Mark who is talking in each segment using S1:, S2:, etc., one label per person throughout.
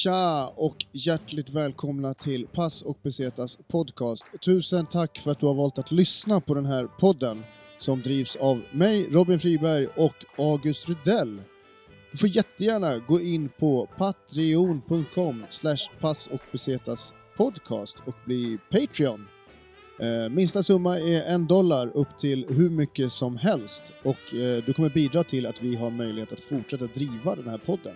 S1: Tja och hjärtligt välkomna till Pass och Besetas podcast. Tusen tack för att du har valt att lyssna på den här podden som drivs av mig, Robin Friberg och August Rudell. Du får jättegärna gå in på patreon.com slash pass och besetas podcast och bli Patreon. Eh, Minsta summa är en dollar upp till hur mycket som helst och eh, du kommer bidra till att vi har möjlighet att fortsätta driva den här podden.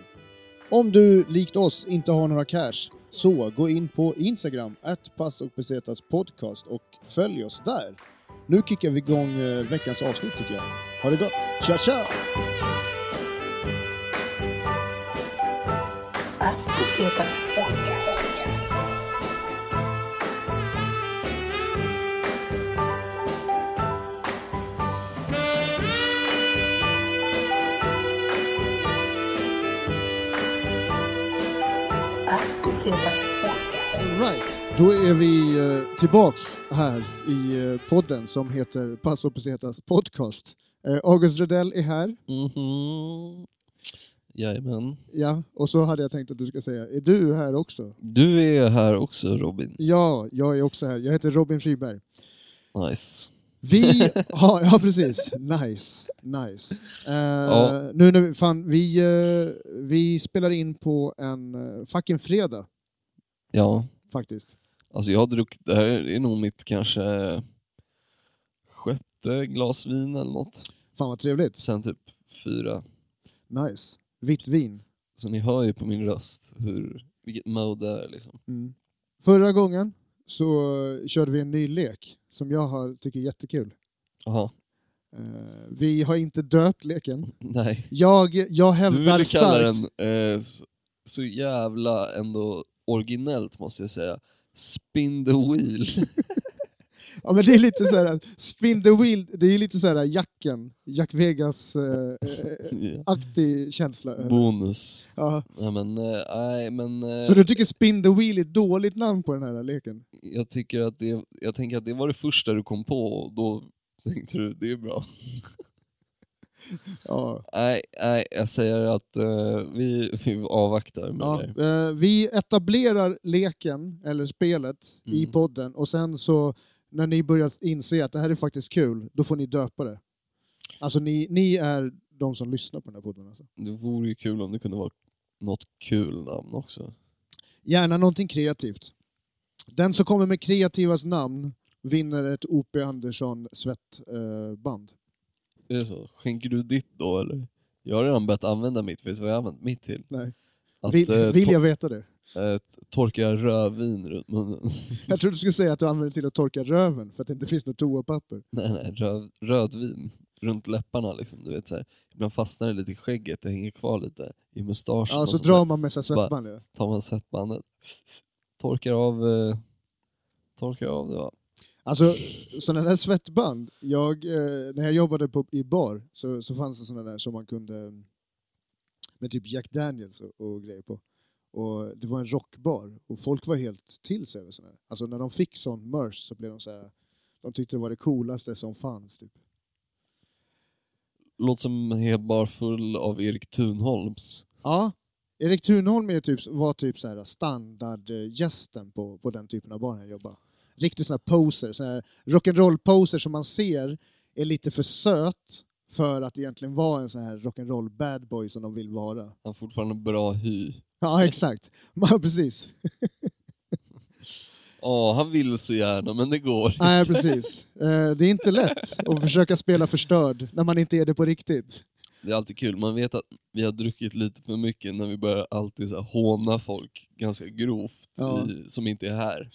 S1: Om du, likt oss, inte har några cash, så gå in på Instagram, att pass och besetas podcast och följ oss där. Nu kickar vi igång eh, veckans avsnitt tycker jag. Ha det gott! Tja tja!
S2: Aspergetas podcast. Aspergetas podcast.
S1: Right. Då är vi eh, tillbaks här i eh, podden som heter Pass och besetas podcast. Eh, August Rödell är här.
S3: Mhm. Jajamän.
S1: Ja, och så hade jag tänkt att du ska säga, är du här också?
S3: Du är här också Robin.
S1: Ja, jag är också här. Jag heter Robin Friberg.
S3: Nice.
S1: Vi har, ja precis, nice, nice. Eh,
S3: Ja.
S1: Nu när vi, fan, vi, eh, vi spelar in på en eh, fucking fredag
S3: Ja,
S1: faktiskt.
S3: alltså jag har druckit, det här är nog mitt kanske sjätte glas vin eller något.
S1: Fan vad trevligt,
S3: Sen typ fyra.
S1: nice. Vitt vin.
S3: Så ni hör ju på min röst hur, vilket mode det är liksom.
S1: Mm. Förra gången så eh, körde vi en ny lek som jag har, tycker är jättekul.
S3: Jaha,
S1: Eh, vi har inte döpt leken.
S3: nej.
S1: Jag, jag
S3: Du
S1: hävdar
S3: ville kalla
S1: starkt...
S3: den, eh, så, så jävla ändå originellt måste jag säga, spin the wheel.
S1: Ja, men det är lite så här, spin the wheel, det är lite så här jacken, Jack Vegas eh, eh,
S3: Ja.
S1: aktig känsla. över det.
S3: Bonus.
S1: Ja.
S3: Nej men, eh, nej men... eh,
S1: Så du tycker Spin the Wheel är ett dåligt namn på den här leken?
S3: jag tycker att det, jag tänker att det var det första du kom på och då tänkte du det är bra.
S1: Ja.
S3: Nej, nej jag säger att eh, vi, vi avvaktar med
S1: Ja,
S3: det. här.
S1: eh, vi etablerar leken, eller spelet, i
S3: Mm.
S1: podden och sen så när ni börjar inse att det här är faktiskt kul, då får ni döpa det. Alltså ni, ni är de som lyssnar på den här podden. Alltså.
S3: Det vore ju kul om det kunde vara något kul namn också.
S1: Gärna någonting kreativt. Den som kommer med kreativas namn vinner ett O.P. Andersson svettband.
S3: Är det så? Skänker du ditt då eller? Jag har redan börjat använda mitt, vet du vad jag har använt mitt till?
S1: Nej.
S3: Att
S1: vill
S3: eh,
S1: vill
S3: to-
S1: jag veta det?
S3: eh, torka rödvin runt munnen.
S1: Jag trodde du skulle säga att du använder det till att torka röven för att det inte finns något toapapper.
S3: nej, nej, röd, rödvin runt läpparna liksom. Du vet så här. Ibland fastnar det lite i skägget, det hänger kvar lite i mustaschen.
S1: Ja,
S3: och
S1: så
S3: sånt där.
S1: drar man med sig svettband. Ja.
S3: tar man svettbandet, torkar av, eh, torkar av det va?
S1: Alltså, sådana där svettband. Jag, eh, när jag jobbade på, i bar så, så fanns det sådana där som man kunde eh, med typ Jack Daniels och, och grejer på. Och det var en rockbar och folk var helt till sig över sådana där. Alltså när de fick sån merch så blev de så här. De tyckte det var det coolaste som fanns. Typ.
S3: Låter som en hel bar full av Erik Thunholms.
S1: Ja, Erik Thunholm är typ, var typ så här standardgästen på, på den typen av barn jag jobbar. Riktigt sån här poser, sån här rock'n'roll-poser som man ser är lite för söt för att egentligen vara en sån här rock'n'roll bad boy som de vill vara.
S3: Han har fortfarande bra hy.
S1: Ja, exakt. Ja, precis.
S3: Ja, han vill så gärna men det går inte.
S1: Nej, precis. Eh, Det är inte lätt att försöka spela förstörd när man inte är det på riktigt.
S3: Det är alltid kul, man vet att vi har druckit lite för mycket när vi börjar alltid så här, håna folk ganska grovt
S1: Ja.
S3: i, som inte är här.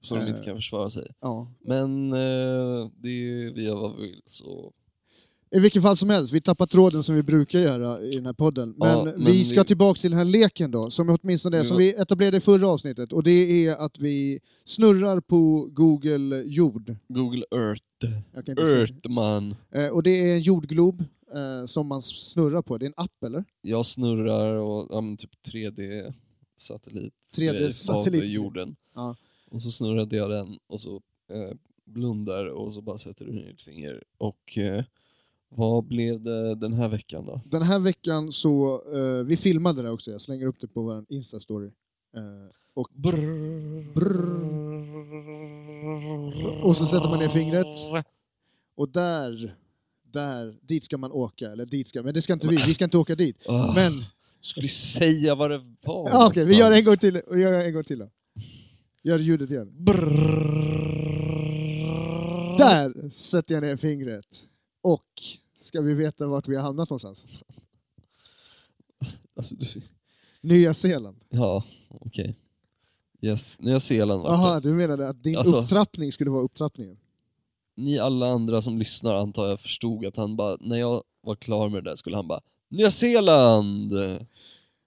S3: Så de inte
S1: Eh.
S3: kan försvara sig.
S1: Ja.
S3: Men eh, det är, vi gör vad vi vill så
S1: I vilket fall som helst, vi tappar tråden som vi brukar göra i den här podden. Men,
S3: Ja, men
S1: vi ska
S3: vi-
S1: tillbaka till den här leken då, som åtminstone är,
S3: Vi
S1: som
S3: var-
S1: vi etablerade i förra avsnittet. Och det är att vi snurrar på Google jord.
S3: Google Earth.
S1: Jag kan inte säga.
S3: Earth man.
S1: Eh, och det är en jordglob eh, som man snurrar på. Det är en app eller?
S3: jag snurrar och ja, men typ 3D satellit
S1: 3D-satellit.
S3: av jorden.
S1: Ja.
S3: Och så snurrade jag den och så eh, blundar och så bara sätter du ner ditt finger och eh, Vad blev det den här veckan då?
S1: Den här veckan så, eh, vi filmade det också, jag slänger upp det på vår Insta-story. Eh,
S3: Brrr.
S1: Och så sätter man ner fingret. och där, där, dit ska man åka, eller dit ska, men det ska inte vi, vi ska inte åka dit.
S3: Ah,
S1: Men,
S3: Skulle säga vad det var
S1: ja, okej, vi gör en
S3: någonstans.
S1: gång till, vi gör en gång till då. Gör ljudet igen.
S3: Brrr.
S1: Där sätter jag ner fingret. Och, ska vi veta vart vi har hamnat någonstans?
S3: Alltså, du...
S1: Nya Zeeland.
S3: Ja, okej. Yes, Nya Zeeland var det.
S1: Jaha, du menade att din
S3: Alltså-
S1: upptrappning skulle vara upptrappningen?
S3: Ni alla andra som lyssnar antar jag förstod att han bara, när jag var klar med det där skulle han bara Nya Zeeland!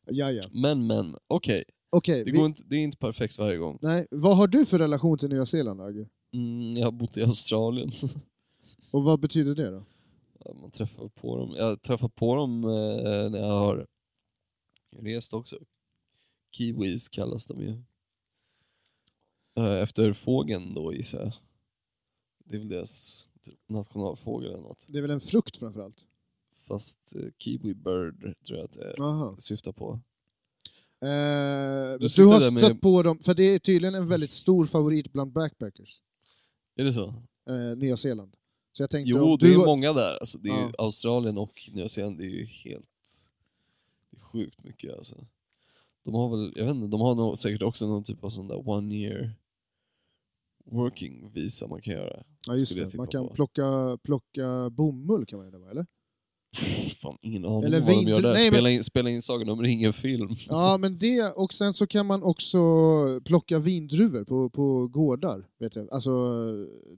S1: Ja, ja.
S3: Men men, okej.
S1: Okej,
S3: Det
S1: vi-
S3: går inte Det är inte perfekt varje gång.
S1: nej, vad har du för relation till Nya Zeeland, Agge?
S3: Mm, jag har bott i Australien.
S1: Och vad betyder det då?
S3: Ja, Man träffar på dem. Jag träffar på dem eh, när jag har rest också. Kiwis kallas de ju. Eh, Efter fågeln då gissar jag. Det är väl deras typ, nationalfågel eller något.
S1: Det är väl en frukt framförallt?
S3: Fast eh, kiwi bird tror jag att det
S1: Jaha.
S3: syftar på.
S1: Eh,
S3: Du
S1: du,
S3: sitter
S1: har
S3: där med-
S1: stött på dem, för det är tydligen en väldigt stor favorit bland backpackers,
S3: Är det så?
S1: eh, Nya Zeeland. Så jag tänkte,
S3: Jo,
S1: om
S3: det är
S1: du
S3: ju
S1: var-
S3: många där. Alltså, det är ju
S1: Ja.
S3: Australien och Nya Zeeland, det är ju helt det är sjukt mycket alltså. De har väl, jag vet inte, de har nog säkert också någon typ av sån där one year working visa man kan göra.
S1: ja, just
S3: skulle jag typ
S1: det. Man
S3: tippa
S1: kan
S3: på.
S1: plocka, plocka bomull, kan man göra det, va, eller?
S3: Fan, ingen aning
S1: Eller
S3: om vad de
S1: vinter-
S3: gör där.
S1: nej, men-
S3: spela, in, spela in Sagan om ringen-film.
S1: Ja, men det, och sen så kan man också plocka vindruvor på, på gårdar. Vet jag. Alltså,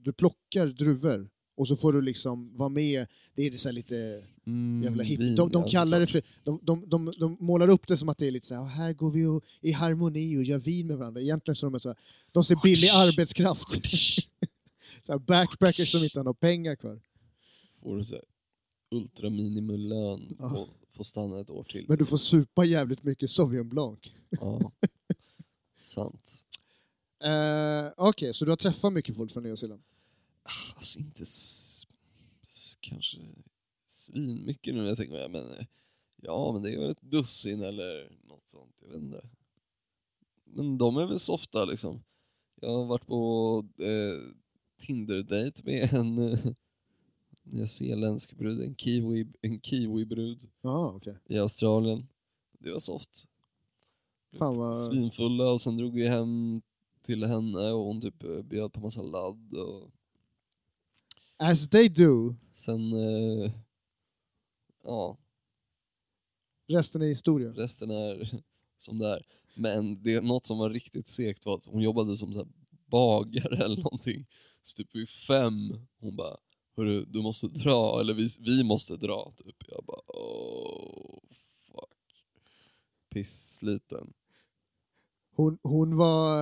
S1: du plockar druvor och så får du liksom vara med, det är så här lite
S3: Mm,
S1: jävla
S3: vin,
S1: hipp. De,
S3: ja,
S1: de kallar det
S3: såklart.
S1: för, de, de, de, de målar upp det som att det är lite så här, här går vi och, i harmoni och gör vin med varandra. Egentligen så är de så här, de ser billig arbetskraft. så här backpackers som inte har några pengar kvar.
S3: Får du så här ultraminimilön
S1: Ja.
S3: och får stanna ett år till.
S1: Men du får supa jävligt mycket Sauvignon Blanc.
S3: Ja. Sant.
S1: Eh, Okej, så du har träffat mycket folk från Nya Zeeland?
S3: Alltså inte s- s- kanske svinmycket nu när jag tänker på det, men eh, ja, men det är väl ett dussin eller något sånt, jag vet inte. Men de är väl softa liksom. Jag har varit på eh, Tinder-dejt med en eh, nyzeeländsk brud, en kiwi, en kiwi-brud
S1: Ja, ah, okej.
S3: i Australien. Det var soft.
S1: Fan vad...
S3: Svinfulla och sen drog vi hem till henne och hon typ eh, bjöd på massa ladd och
S1: As they do.
S3: Sen, eh, ja,
S1: Resten är historia.
S3: resten är som det är. Men det, något som var riktigt segt var att hon jobbade som så här bagare eller någonting. Så typ vid fem, hon bara Hörru, du måste dra, eller vi, vi måste dra. Typ. Jag bara oh fuck. Pissliten.
S1: Hon, hon var...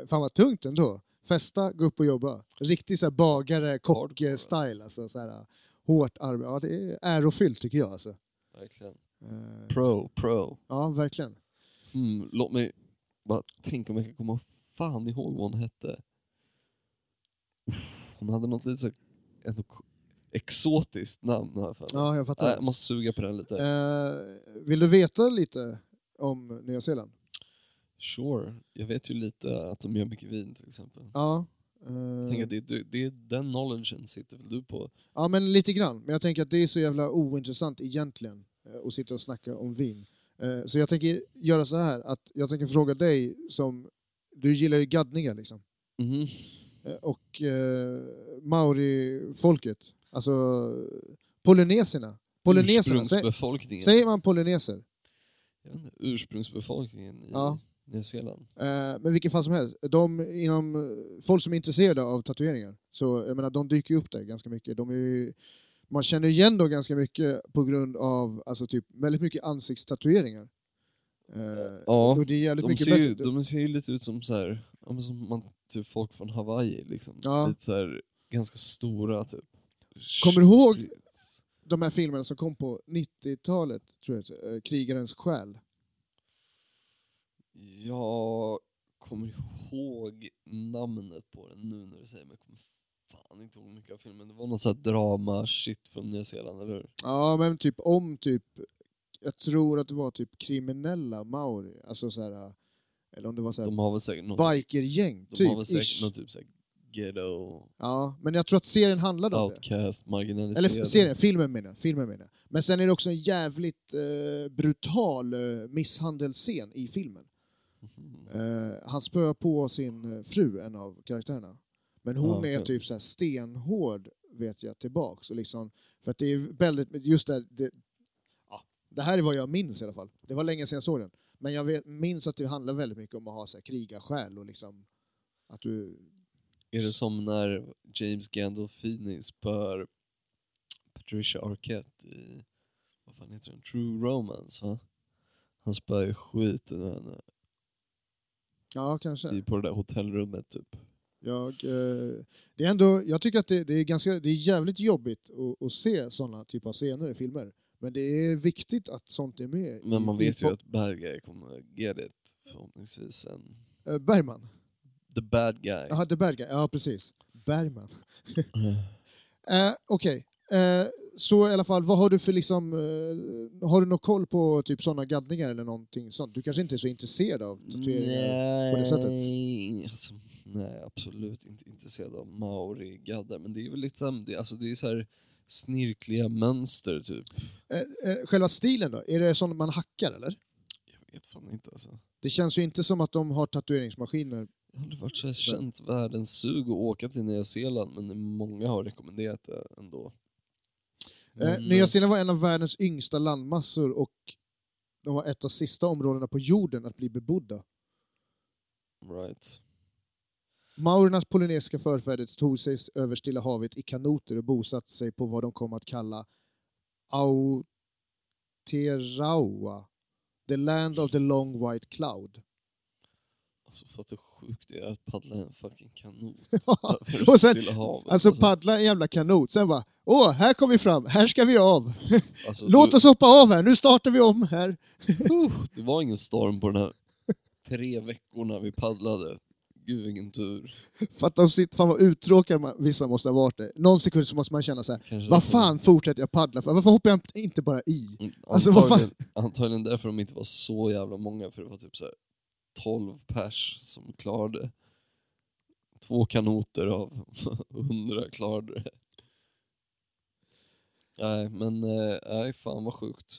S1: eh, Fan vad tungt ändå. Festa, gå upp och jobba. Riktig så här bagare,
S3: Hardcore.
S1: kock-style. Alltså, så här, eh, hårt arbete. Ja, det är ärofyllt tycker jag. Alltså.
S3: Verkligen.
S1: Eh,
S3: Pro, pro.
S1: Ja, verkligen.
S3: Mm, låt mig bara tänka om jag kan komma fan ihåg vad hon hette. Uff, Hon hade något lite så ändå k- exotiskt namn har jag för mig.
S1: Ja, jag
S3: Nej,
S1: fattar.
S3: jag måste suga på den lite.
S1: Eh, vill du veta lite om Nya Zeeland?
S3: Sure. Jag vet ju lite att de gör mycket vin till exempel.
S1: Ja.
S3: Jag
S1: eh,
S3: tänker att det, är du- det är den knowledgen sitter väl du på?
S1: Ja, men lite grann. Men jag tänker att det är så jävla ointressant egentligen eh, att sitta och snacka om vin. Eh, Så jag tänker göra så här att jag tänker fråga dig som... Du gillar ju gaddningar liksom.
S3: Mhm.
S1: Eh, Och eh, maori-folket, alltså polyneserna. Polyneserna, sä,
S3: Ursprungsbefolkningen.
S1: säger man polyneser?
S3: Jag vet inte, ursprungsbefolkningen i
S1: Ja.
S3: Nya Zeeland.
S1: Eh, Men vilken fall som helst, de inom eh, folk som är intresserade av tatueringar, så jag menar, de dyker ju upp där ganska mycket. De är ju, man känner igen dem ganska mycket på grund av alltså, typ, väldigt mycket ansiktstatueringar. Eh,
S3: Ja,
S1: och det är jävligt
S3: De
S1: mycket
S3: ser, ju,
S1: bättre.
S3: de ser ju lite ut som så här, ja, men som man, typ folk från Hawaii liksom.
S1: Ja.
S3: Lite så här, ganska stora typ.
S1: Kommer du ihåg de här filmerna som kom på 90-talet, tror jag, eh, Krigarens själ?
S3: Jag kommer ihåg namnet på den nu när du säger men jag kommer fan inte ihåg mycket av filmen. Det var någon sån här drama-shit från Nya Zeeland, eller hur?
S1: Ja, men typ om typ, jag tror att det var typ kriminella maori, alltså så här, eller om det var så här
S3: De har väl säkert någon,
S1: bikergäng,
S3: de
S1: typ.
S3: har väl säkert
S1: ish.
S3: någon typ såhär ghetto,
S1: Ja, men jag tror att serien handlade om det.
S3: outcast, marginaliserade.
S1: Eller serien, filmen menar jag, filmen menar jag. Men sen är det också en jävligt eh, brutal eh, misshandelsscen i filmen.
S3: Mhm.
S1: Eh, han spöar på sin eh, fru, en av karaktärerna. Men hon
S3: Ja, okej.
S1: är typ så här stenhård, vet jag, tillbaks. Och liksom, för att det är väldigt, just det, här, det, ja, det här är vad jag minns i alla fall. Det var länge sedan jag såg den. Men jag vet, minns att det handlar väldigt mycket om att ha så här, krigarsjäl och liksom att du...
S3: Är det som när James Gandolfini spör Patricia Arquette i, vad fan heter den, True Romance va? Han spör ju skiten ur henne
S1: Ja, kanske.
S3: i- på det där hotellrummet typ.
S1: Jag, eh, det är ändå, jag tycker att det, det, är, ganska, det är jävligt jobbigt att, att se sådana typer av scener i filmer. Men det är viktigt att sånt är med. i-
S3: Men man
S1: i
S3: vet ju
S1: pop-
S3: att bad guy kommer att get it förhoppningsvis sen.
S1: eh, Bergman.
S3: The bad guy.
S1: Jaha, The Bad Guy. Ja, precis. Bergman.
S3: Mm.
S1: Eh, Okej. Eh, så i alla fall, vad har du för liksom... Eh, har du någon koll på typ sådana gaddningar eller någonting sånt? Du kanske inte är så intresserad av tatueringar? på det sättet?
S3: Nej, Alltså, nej, absolut inte intresserad av maori-gaddar. Men det är väl lite så här, det, alltså, det är så här snirkliga mönster typ.
S1: Eh, eh, själva stilen då? Är det sånt man hackar eller?
S3: Jag vet fan inte alltså.
S1: Det känns ju inte som att de har tatueringsmaskiner.
S3: Jag har aldrig varit så här känt världens sug att åka till Nya Zeeland, men många har rekommenderat det ändå. Mm,
S1: Eh,
S3: Men,
S1: Nya Zeeland var en av världens yngsta landmassor och de var ett av sista områdena på jorden att bli bebodda.
S3: Right.
S1: Maurernas polynesiska förfäder tog sig över Stilla havet i kanoter och bosatte sig på vad de kom att kalla Aotearoa, the land of the long white cloud.
S3: Alltså fattar hur sjukt det är att paddla en fucking kanot
S1: och sen,
S3: Stilla havet.
S1: alltså paddla en jävla kanot, sen bara åh, här kom vi fram, här ska vi av,
S3: alltså,
S1: låt
S3: du-
S1: oss hoppa av här, nu startar vi om här.
S3: Uh, det var ingen storm på den här tre veckorna vi paddlade. Gud vilken tur.
S1: Fatta sitt, fan vad uttråkade man, vissa måste ha varit det. Någon sekund så måste man känna så här,
S3: Kanske
S1: vad
S3: därför-
S1: fan fortsätter jag paddla för? Varför hoppar jag inte bara i?
S3: Mm,
S1: Alltså, vad fan?
S3: antagligen, antagligen därför de inte var så jävla många, för det var typ så här 12 pers som klarade. Två kanoter av 100 klarade det. Nej, men eh, nej, fan vad sjukt.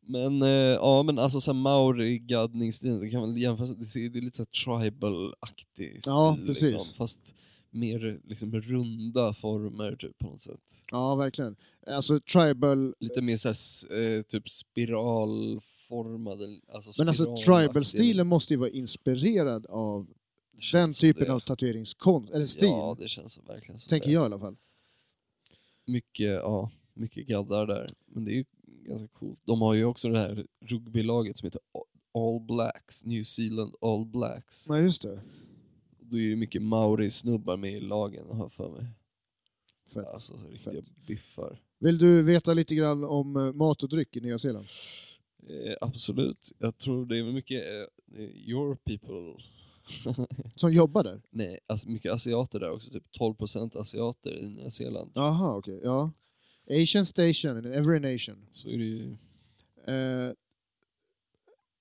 S3: Men eh, ja, men alltså såhär maori-gaddningsstilen, det kan väl jämföras, det ser- det är lite såhär tribal-aktig stil.
S1: Ja, precis.
S3: Liksom, fast mer liksom runda former typ på något sätt.
S1: Ja, verkligen. Alltså tribal
S3: Lite mer såhär, s- eh, typ spiralformade, alltså
S1: Men alltså
S3: spiralaktig.
S1: tribal-stilen måste ju vara inspirerad av
S3: Det känns
S1: den
S3: som
S1: typen
S3: det.
S1: av tatueringskonst, eller stil,
S3: Ja, det känns som verkligen som
S1: tänker
S3: det.
S1: jag i alla fall.
S3: Mycket, ja, mycket gaddar där. Men det är ju ganska coolt. De har ju också det här rugbylaget som heter A- All Blacks, New Zealand All Blacks.
S1: Nej, just det.
S3: Då är ju mycket maori-snubbar med i lagen, har jag för mig.
S1: Fett.
S3: Alltså så riktiga biffar.
S1: Vill du veta lite grann om eh, mat och dryck i Nya Zeeland?
S3: Eh, absolut. Jag tror det är väl mycket eh, your people
S1: Som jobbar där?
S3: Nej, alltså mycket asiater där också. Typ 12% asiater i Nya Zeeland.
S1: Jaha, okej. Ja. Asian station in every nation.
S3: Så är det ju...
S1: Eh,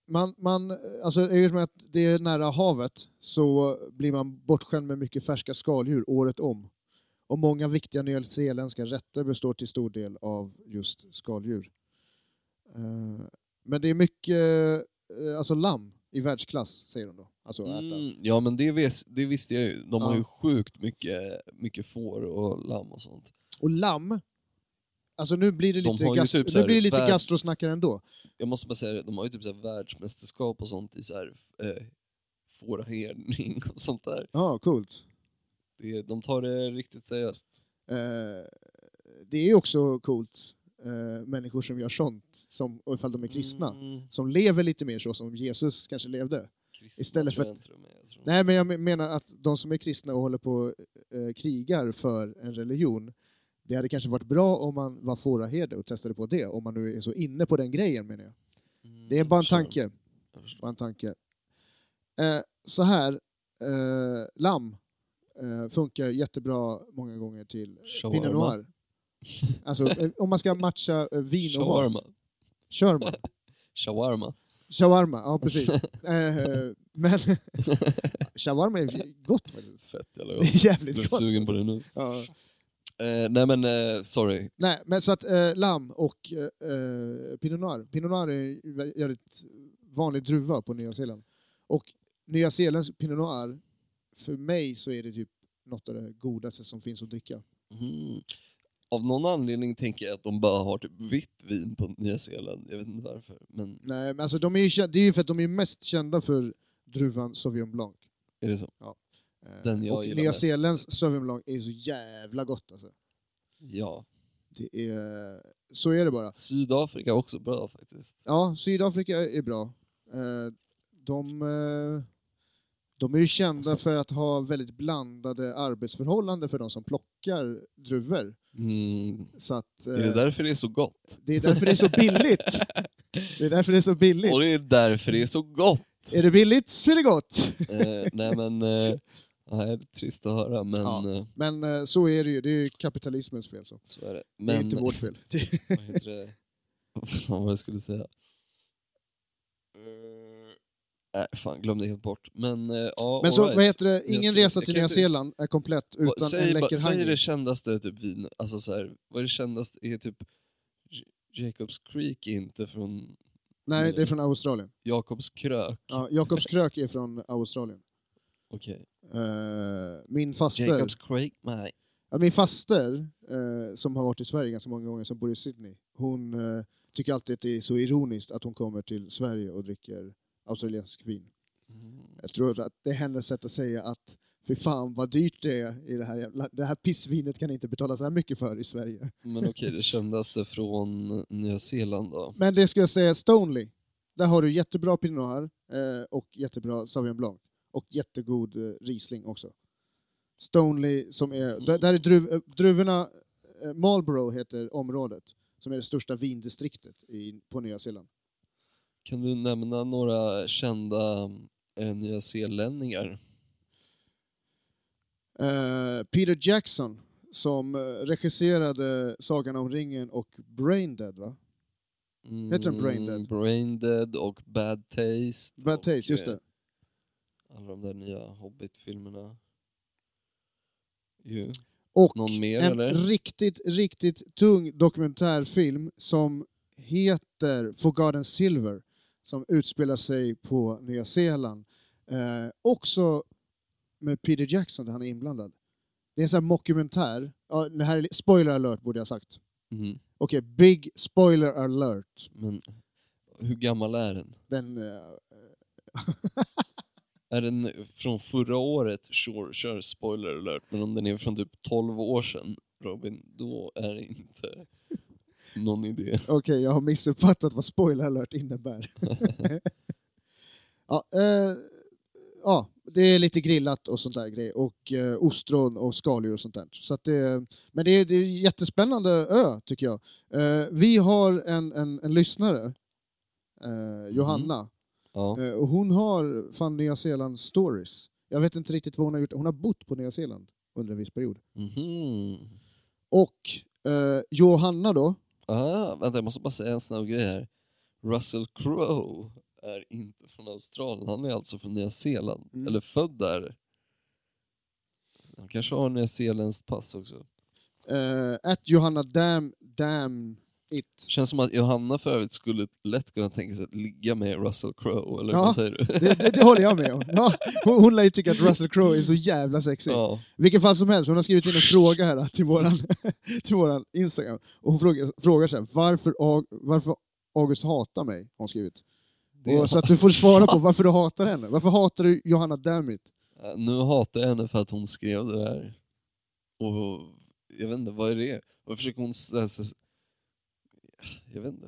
S1: man, man, alltså, i och med att det är nära havet så blir man bortskämd med mycket färska skaldjur året om. Och många viktiga nyzeeländska rätter består till stor del av just skaldjur. Eh, men det är mycket eh, alltså lamm i världsklass, säger de då. Alltså att äta.
S3: Mm, ja, men det, vis, det visste jag ju. De har
S1: Ja.
S3: ju sjukt mycket, mycket får och lamm och sånt.
S1: Och lamm, alltså nu blir det
S3: De
S1: lite,
S3: har ju
S1: gastro,
S3: typ så
S1: nu
S3: här
S1: blir det lite
S3: värld-
S1: gastrosnackare ändå.
S3: Jag måste bara säga det, de har ju typ så här världsmästerskap och sånt i så här, eh, fårherdning och sånt där.
S1: Ja, coolt.
S3: Det, de tar det riktigt seriöst.
S1: Eh, det är ju också coolt, eh, människor som gör sånt, som, och ifall de är kristna,
S3: Mm,
S1: som lever lite mer så som Jesus kanske levde.
S3: kristna
S1: Istället
S3: tror
S1: för
S3: jag inte de är, jag tror.
S1: Nej, men jag me- menar att de som är kristna och håller på eh, krigar för en religion, det hade kanske varit bra om man var fåraherde och testade på det, om man nu är så inne på den grejen menar jag.
S3: Mm,
S1: Det är
S3: jag
S1: bara en
S3: förstår.
S1: tanke.
S3: Jag förstår.
S1: Bara en tanke. Eh, så här, eh, lamm Eh, funkar jättebra många gånger till Pinot
S3: Shawarma.
S1: Noir. Alltså, eh, om man ska matcha eh, vin och mat.
S3: Shawarma.
S1: Shawarma.
S3: Shawarma.
S1: Shawarma, ja precis. Eh, men shawarma är gott faktiskt.
S3: Fett jävla
S1: Det
S3: gott.
S1: är
S3: Jag blir
S1: jävligt gott.
S3: sugen på det nu.
S1: Ja.
S3: Eh, nej men, eh, sorry.
S1: Nej, men så att eh, lamm och eh, eh, pinot noir. Pinot noir är en vä- jävligt vanlig druva på Nya Zeeland. Och Nya Zeelands pinot noir, för mig så är det typ något av det godaste som finns att dricka.
S3: Mm. Av någon anledning tänker jag att de bara har typ vitt vin på Nya Zeeland. Jag vet inte varför. Men
S1: Nej, men alltså de är ju, kä- det är ju för att de är mest kända för druvan Sauvignon Blanc.
S3: är det så?
S1: Eh,
S3: Den jag
S1: och
S3: gillar
S1: Nya
S3: mest.
S1: Zeelands Sauvignon Blanc är så jävla gott alltså.
S3: Ja.
S1: Det är, så är det bara.
S3: Sydafrika är också bra faktiskt.
S1: Ja, Sydafrika är bra. Eh, De, eh, de är ju kända för att ha väldigt blandade arbetsförhållanden för de som plockar druvor.
S3: Mm.
S1: Så att, eh,
S3: Är det därför det är så gott?
S1: det är därför det är så billigt. Det är därför det är så billigt.
S3: Och det är därför det är så gott!
S1: Är det billigt så är det gott.
S3: eh, nej men, eh, nej, det är trist att höra men
S1: Ja.
S3: eh,
S1: Men eh, så är det ju. Det är ju kapitalismens fel. Så.
S3: så är det. Men,
S1: Det är inte vårt fel. Det-
S3: Vad heter det? Vad fan var det jag skulle säga? Eh, Nej, fan glömde helt bort. Men eh, ja,
S1: Men så,
S3: all right.
S1: vad heter det?
S3: Nya
S1: Ingen
S3: Zeeland.
S1: resa
S3: Jag
S1: till
S3: kan
S1: Nya
S3: inte-
S1: Zeeland är komplett
S3: Vad-
S1: utan
S3: säg,
S1: en
S3: bara-
S1: läcker
S3: säg det
S1: hangi.
S3: kändaste typ vin, alltså så här, vad är det kändaste? Är typ J- Jacobs Creek inte från
S1: Nej, det är från Australien.
S3: Jakobs krök?
S1: Ja, Jakobs krök är från Australien.
S3: Okej.
S1: Eh, min faster,
S3: Jacobs Creek? Nej.
S1: ja, min faster eh, som har varit i Sverige ganska många gånger, som bor i Sydney, hon eh, tycker alltid att det är så ironiskt att hon kommer till Sverige och dricker australiensk vin.
S3: Mm.
S1: Jag tror att det är hennes sätt att säga att fy fan vad dyrt det är i det här jävla, det här pissvinet kan ni inte betala så här mycket för i Sverige.
S3: Men okej, det kändaste från Nya Zeeland då?
S1: Men det ska jag säga, Stonely, där har du jättebra Pinot Noir eh, och jättebra Sauvignon Blanc och jättegod eh, Riesling också. Stonely, som är, där, där är druv, eh, druvorna, eh, Marlborough heter området, som är det största vindistriktet i, på Nya Zeeland.
S3: Kan du nämna några kända eh, Nya Zeelänningar?
S1: Eh, Peter Jackson, som eh, regisserade Sagan om ringen och Braindead, va?
S3: Mm,
S1: Heter den Braindead?
S3: Braindead och Bad Taste.
S1: Bad
S3: och,
S1: Taste, just
S3: eh,
S1: det.
S3: Alla de där nya Hobbit-filmerna. Ju.
S1: Och
S3: Någon mer
S1: en
S3: eller?
S1: riktigt, riktigt tung dokumentärfilm som heter Forgotten Silver som utspelar sig på Nya Zeeland. Eh, också med Peter Jackson där han är inblandad. Det är en sån här mockumentär. Ja, det här är li- spoiler alert borde jag ha sagt.
S3: Mm.
S1: Okej, big spoiler alert.
S3: Men hur gammal är den?
S1: Den, eh,
S3: Är den från förra året? Sure, kör spoiler alert. Men om den är från typ 12 år sedan, Robin, då är det inte någon idé.
S1: Okej, jag har missuppfattat vad spoiler alert innebär. ja, eh, ja, det är lite grillat och sånt där grej och eh, ostron och skaldjur och sånt där. Så att det, men det är, det är en jättespännande ö, tycker jag. Eh, vi har en, en, en lyssnare, eh, Johanna,
S3: Ja.
S1: eh, och hon har fan Nya Zeeland stories. Jag vet inte riktigt vad hon har gjort. Hon har bott på Nya Zeeland under en viss period.
S3: Mhm.
S1: Och eh, Johanna då,
S3: Ah, vänta, jag måste bara säga en snabb grej här. Russell Crowe är inte från Australien, han är alltså från Nya Zeeland.
S1: Mm.
S3: Eller född där. Han kanske har Nya Zeelands pass också.
S1: Eh, att Johanna Dam, Dam It.
S3: Känns som att Johanna för övrigt skulle lätt kunna tänka sig att ligga med Russell Crowe, eller
S1: Ja,
S3: vad säger du?
S1: Det, det, det håller jag med om. Ja, hon, hon lär ju tycka att Russell Crowe är så jävla sexig.
S3: ja.
S1: Vilken fall som helst, hon har skrivit in en fråga här till våran, till våran Instagram. Och hon frågar, frågar så här, varför, Aug- varför August hatar mig? Har hon skrivit.
S3: det,
S1: Och, så att du får svara på varför du hatar henne. Varför hatar du Johanna Damit?
S3: Ja, Nu hatar jag henne för att hon skrev det där. Och jag vet inte, vad är det? Vad försöker hon... s- Alltså, s- jag vet inte.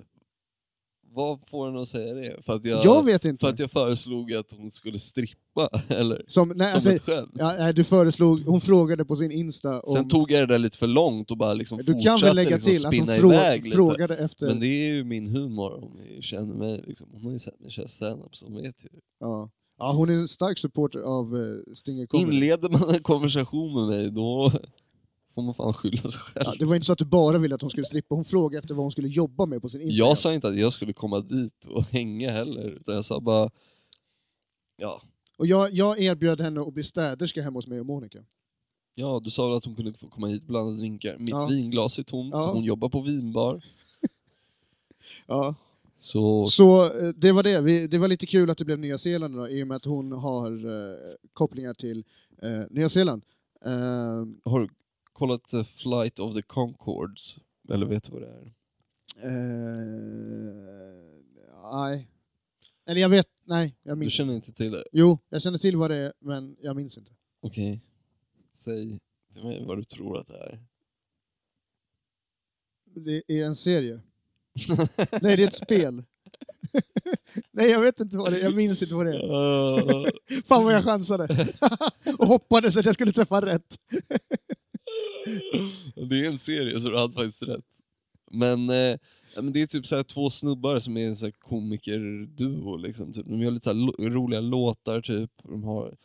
S3: Vad får henne att säga det? För att jag...
S1: jag vet
S3: För
S1: inte.
S3: att jag föreslog att hon skulle strippa, eller?
S1: Som, nej,
S3: som
S1: alltså,
S3: ett skämt.
S1: ja, nej, du föreslog, hon frågade på sin Insta om...
S3: Sen tog jag det där lite för långt och bara liksom
S1: du kan väl
S3: fortsatte
S1: lägga
S3: liksom
S1: till att hon
S3: spinna
S1: frå-
S3: iväg lite.
S1: frågade efter...
S3: Men det är ju min humor om ni känner mig. Liksom. Hon har ju sett mig köra standup, så hon vet ju.
S1: Ja. Ja, hon är en stark supporter av eh, Stinger Comedy.
S3: Inleder man en konversation med mig, då får man fan skylla sig själv.
S1: Ja, det var inte så att du bara ville att hon skulle strippa, hon frågade efter vad hon skulle jobba med på sin Instagram.
S3: Jag sa inte att jag skulle komma dit och hänga heller, utan jag sa bara... Ja,
S1: Och jag, jag erbjöd henne att bli städerska hemma hos mig och Monica.
S3: ja du sa väl att hon kunde få komma hit och blanda drinkar. Mitt
S1: Ja.
S3: vinglas är tomt,
S1: Ja.
S3: hon jobbar på vinbar.
S1: Ja.
S3: Så
S1: Så eh, det var det. Vi, det var lite kul att det blev Nya Zeeland då, i och med att hon har eh, kopplingar till eh, Nya Zeeland. Eh,
S3: har du kollat eh, Flight of the Concords? Eller vet du vad det är?
S1: eh, nej. Eller jag vet, nej, jag
S3: Du
S1: minns
S3: känner inte till det?
S1: Jo, jag känner till vad det är, men jag minns inte.
S3: Okej. Säg till mig vad du tror att det är.
S1: Det är en serie. Nej, det är ett spel. Nej, jag vet inte vad det är. Jag minns inte vad det är.
S3: Eh,
S1: Fan vad jag chansade. och hoppades att jag skulle träffa rätt.
S3: det är en serie, så du hade faktiskt rätt. Men, eh, ja, men det är typ så här två snubbar som är en så här komikerduo. Liksom, typ. De gör lite så här lo- roliga låtar, typ. De har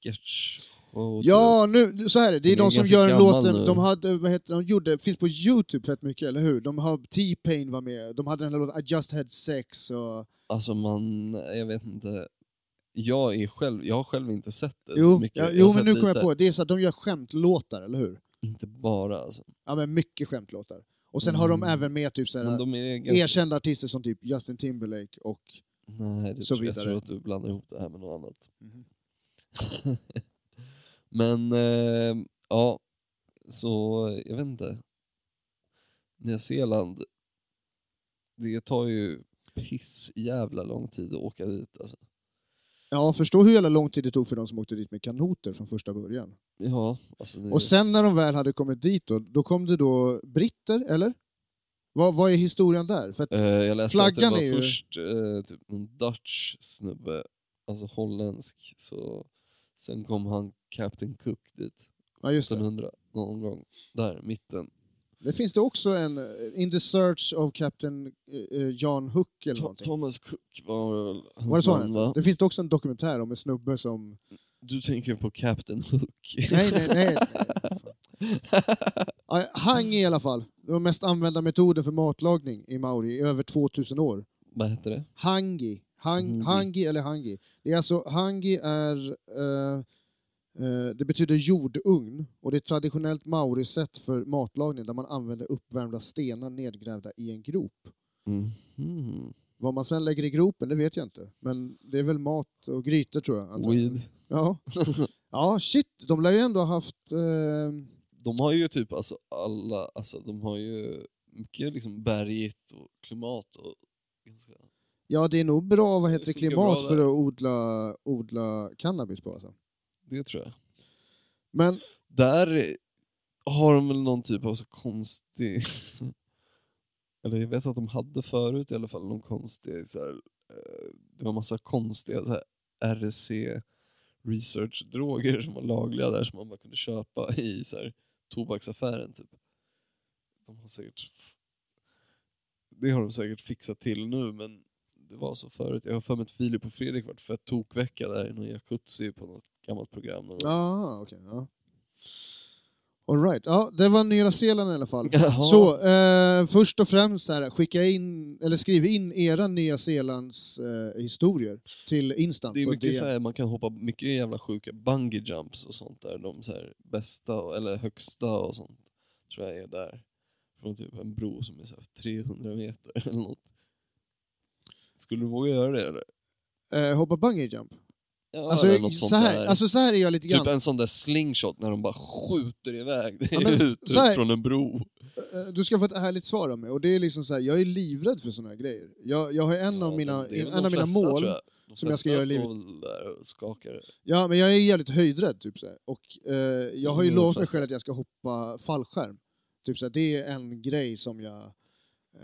S3: sketch och typ,
S1: Ja, nu, så här är det. Det är
S3: Den är
S1: de som
S3: ganska
S1: gör en
S3: gammal
S1: låten.
S3: nu.
S1: De, hade, vad heter, de gjorde, finns på Youtube fett mycket, eller hur? De har T-Pain var med. De hade den här låten I just had sex och...
S3: Alltså man, jag vet inte. Jag, är själv, jag har själv inte sett det så
S1: Jo,
S3: mycket.
S1: ja,
S3: har
S1: jo
S3: sett
S1: men nu kommer
S3: lite.
S1: jag på det. Det är så att de gör skämtlåtar, eller hur?
S3: Inte bara alltså.
S1: Ja, men mycket skämtlåtar. Och sen har de
S3: Mm.
S1: även med typ så här,
S3: Men de är ganska...
S1: erkända artister som typ Justin Timberlake och...
S3: Nej, det
S1: så
S3: tror jag, jag
S1: vidare.
S3: tror att du blandar ihop det här med något annat.
S1: Mhm.
S3: Men, eh, ja. Så, jag vet inte. Nya Zeeland, det tar ju piss jävla lång tid att åka dit alltså.
S1: Ja, förstå hur jävla lång tid det tog för de som åkte dit med kanoter från första början.
S3: Ja, alltså det,
S1: Och sen när de väl hade kommit dit då, då kom det då britter, eller? Vad, vad är historien där? För att,
S3: eh, jag läste att det
S1: flaggan
S3: var
S1: är ju-
S3: först eh, typ en Dutch snubbe, alltså holländsk, så sen kom han Captain Cook dit,
S1: ja, just det.
S3: 1700 någon gång, där mitten.
S1: det finns det också en eh, In the search of Captain eh, eh, John Hook eller
S3: To-
S1: någonting.
S3: Thomas Cook var väl hans
S1: Var det så
S3: namn,
S1: han
S3: va?
S1: hette? Det finns det också en dokumentär om en snubbe som...
S3: Du tänker på Captain Hook.
S1: Nej, nej, nej. nej. Ja, Hang i alla fall. Det var mest använda metoden för matlagning i Maori i över 2000 år.
S3: Vad heter det?
S1: Hangi. Hang,
S3: Hangi.
S1: Hangi eller hangi. Det är alltså, hangi är... Eh, eh, det betyder jordugn och det är ett traditionellt maorisätt för matlagning där man använder uppvärmda stenar nedgrävda i en grop.
S3: Mhm.
S1: Vad man sen lägger i gropen, det vet jag inte. Men det är väl mat och grytor tror jag. antar jag.
S3: Weed.
S1: Ja. ja, shit. De lär ju ändå ha haft... Eh,
S3: De har ju typ alltså alla, alltså de har ju mycket liksom bergigt och klimat och ganska...
S1: ja, det är nog bra vad heter
S3: Det
S1: det,
S3: funkar
S1: klimat
S3: bra
S1: för
S3: där.
S1: att odla, odla cannabis på. Alltså.
S3: Det tror jag.
S1: Men
S3: Där har de väl någon typ av så konstig... Eller jag vet att de hade förut i alla fall någon konstig så här, eh, Det var massa konstiga så här, RC research-droger som var lagliga där som man bara kunde köpa i så här, tobaksaffären typ. De har säkert... Det har de säkert fixat till nu men det var så förut. Jag har för mig att Filip och Fredrik varit fett tokvecka där i någon jacuzzi på något gammalt program. någon gång.
S1: Ja, okej. ja. Alright, ja, det var Nya Zeeland i alla fall.
S3: Jaha.
S1: Så, eh, först och främst, här, skicka in, eller skriv in era Nya Zeelands eh, historier till Instant.
S3: Det är
S1: på
S3: mycket
S1: DM.
S3: så här, man kan hoppa mycket jävla sjuka bungee jumps och sånt där. De så här bästa, och- eller högsta och sånt, tror jag är där. Från typ en bro som är så här 300 meter eller något. Skulle du våga göra det eller?
S1: eh, hoppa bungee jump.
S3: Ja, eller
S1: alltså,
S3: något sånt
S1: så här,
S3: där.
S1: alltså så här är jag lite
S3: typ
S1: grann.
S3: en sån där slingshot när de bara skjuter iväg dig
S1: Ja, men
S3: ut,
S1: så här-
S3: ut från en bro.
S1: Eh, Du ska få ett härligt svar av mig. Och det är liksom så här, jag är livrädd för såna här grejer. Jag, jag har en
S3: Ja,
S1: av mina,
S3: det är väl
S1: en
S3: de
S1: av mina
S3: flesta,
S1: mål...
S3: tror jag. De
S1: som jag ska
S3: flesta
S1: göra i livet.
S3: står väl där och skakar.
S1: Ja, men jag är jävligt höjdrädd. Typ, så här. Och, eh, jag har ju
S3: Mm,
S1: lovat mig
S3: fast-
S1: själv att jag ska hoppa fallskärm. Typ, så här, det är en grej som jag, eh,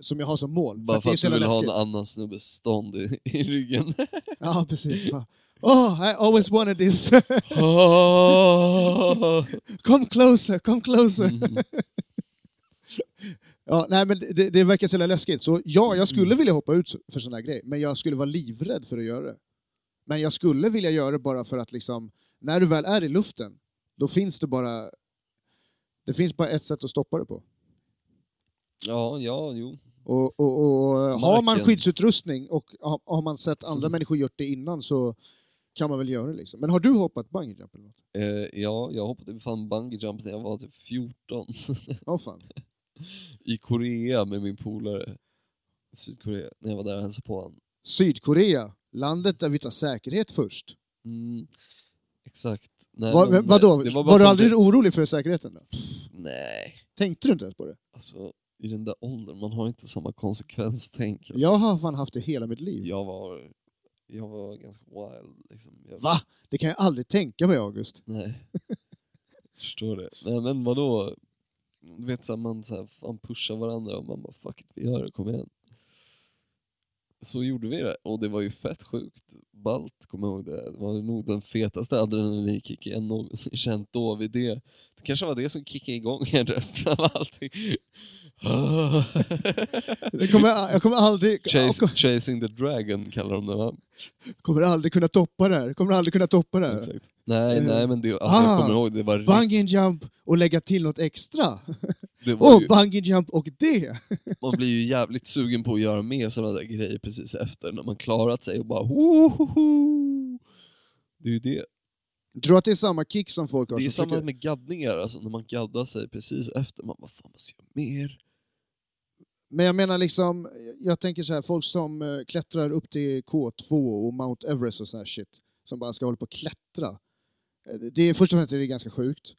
S1: som jag har som mål.
S3: Bara för
S1: det är
S3: att
S1: så
S3: du vill
S1: jävla
S3: ha en
S1: läskigt.
S3: annan snubbes stånd i, i ryggen.
S1: Ja, precis. Bara, Oh, I always wanted this.
S3: Ah!
S1: come closer, come closer.
S3: Mm.
S1: Ja, nej, men det, det
S3: Mm.
S1: verkar så jävla läskigt. Så ja, jag skulle vilja hoppa ut för sådana här grejer, men jag skulle vara livrädd för att göra det. Men jag skulle vilja göra det bara för att liksom, när du väl är i luften, då finns det bara... Det finns bara ett sätt att stoppa det på.
S3: Ja, ja, jo.
S1: Och, och, och har man
S3: Marken. Mm.
S1: skyddsutrustning och har, har man sett andra människor gjort det innan så kan man väl göra det. Liksom. Men har du hoppat bungyjump eller något?
S3: Eh, ja, jag hoppade fan bungee jump när jag var typ 14.
S1: Ja, fan.
S3: I Korea med min polare. Sydkorea, när jag var där och hälsade på honom.
S1: Sydkorea, landet där vi tar säkerhet först.
S3: Mm, exakt. Nej,
S1: Var,
S3: men,
S1: vadå?
S3: Eh, det
S1: Var,
S3: bara för
S1: du
S3: att
S1: aldrig
S3: det-
S1: orolig för säkerheten? Då?
S3: Nej.
S1: Tänkte du inte ens på det?
S3: Alltså, i den där åldern, man har inte samma konsekvenstänk. Alltså.
S1: Jag har fan haft det hela mitt liv.
S3: Jag var, jag var ganska wild. Liksom. Jag,
S1: Va? Det kan jag aldrig tänka mig, August.
S3: Nej. Förstår det. Nej men vadå? Du vet såhär, man så här, fan pushar varandra och man bara fuck it, vi gör det, kom igen. Så gjorde vi det och det var ju fett sjukt ballt, kommer jag ihåg det. Det var nog den fetaste adrenalinkicken jag någonsin känt då vid det. Det kanske var det som kickade igång resten av allting.
S1: Jag kommer, jag kommer, aldrig,
S3: Chase, chasing the dragon kallar de det va?
S1: kommer aldrig kunna toppa det här. Kommer aldrig kunna toppa det här.
S3: Exakt. Nej,
S1: Eh,
S3: nej men det, alltså,
S1: ah,
S3: jag kommer ihåg, det var, rikt-
S1: Bungee jump och lägga till något extra.
S3: det var
S1: Och
S3: ju,
S1: bungee jump och det!
S3: man blir ju jävligt sugen på att göra mer sådana där grejer precis efter, när man klarat sig och bara hohoho. Det är ju det.
S1: Jag tror att det är samma kick som folk har
S3: Det är
S1: som
S3: samma
S1: tycker-
S3: med gaddningar, alltså när man gaddar sig precis efter, man bara fan måste göra mer.
S1: Men jag menar liksom, jag tänker så här, folk som eh, klättrar upp till K2 och Mount Everest och sån här shit, som bara ska hålla på och klättra. Eh, Det är först och främst är det ganska sjukt.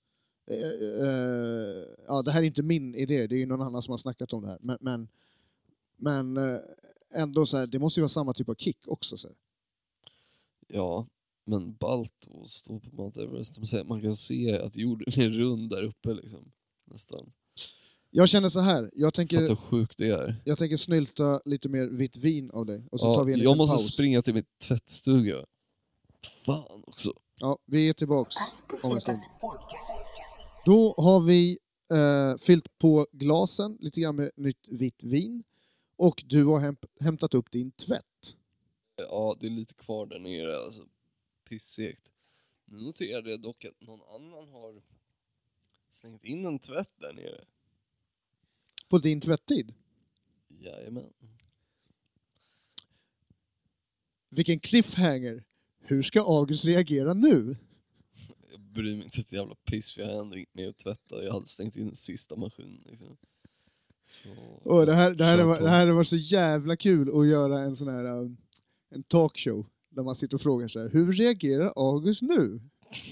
S1: Eh, eh, Ja, det här är inte min idé, det är ju någon annan som har snackat om det här. Men, men, men eh, ändå så här, det måste ju vara samma typ av kick också. Så här.
S3: Ja, men balt att stå på Mount Everest, de säger att man kan se att jorden är rund där uppe liksom. Nästan.
S1: Jag känner så här, jag
S3: Fattar
S1: tänker,
S3: hur sjukt det är.
S1: jag tänker snylta lite mer vitt vin av dig och så tar
S3: Ja,
S1: vi en
S3: jag
S1: liten
S3: måste
S1: paus.
S3: springa till mitt tvättstuga. Fan också.
S1: Ja, vi är tillbaks om en stund.
S2: Podcast.
S1: Då har vi eh, fyllt på glasen lite grann med nytt vitt vin och du har hämt, hämtat upp din tvätt.
S3: Ja, det är lite kvar där nere. Alltså. Pissegt. Nu noterade jag dock att någon annan har slängt in en tvätt där nere.
S1: På din tvätttid.
S3: Jajamän.
S1: Vilken cliffhanger! Hur ska August reagera nu?
S3: Jag bryr mig inte ett jävla piss för jag har ändå inte med att tvätta. Jag hade stängt in den sista maskinen. Liksom. Så,
S1: Åh, det här, det, här
S3: kör
S1: var,
S3: på.
S1: det här var så jävla kul att göra en sån här um, en talkshow där man sitter och frågar så här, hur reagerar August nu?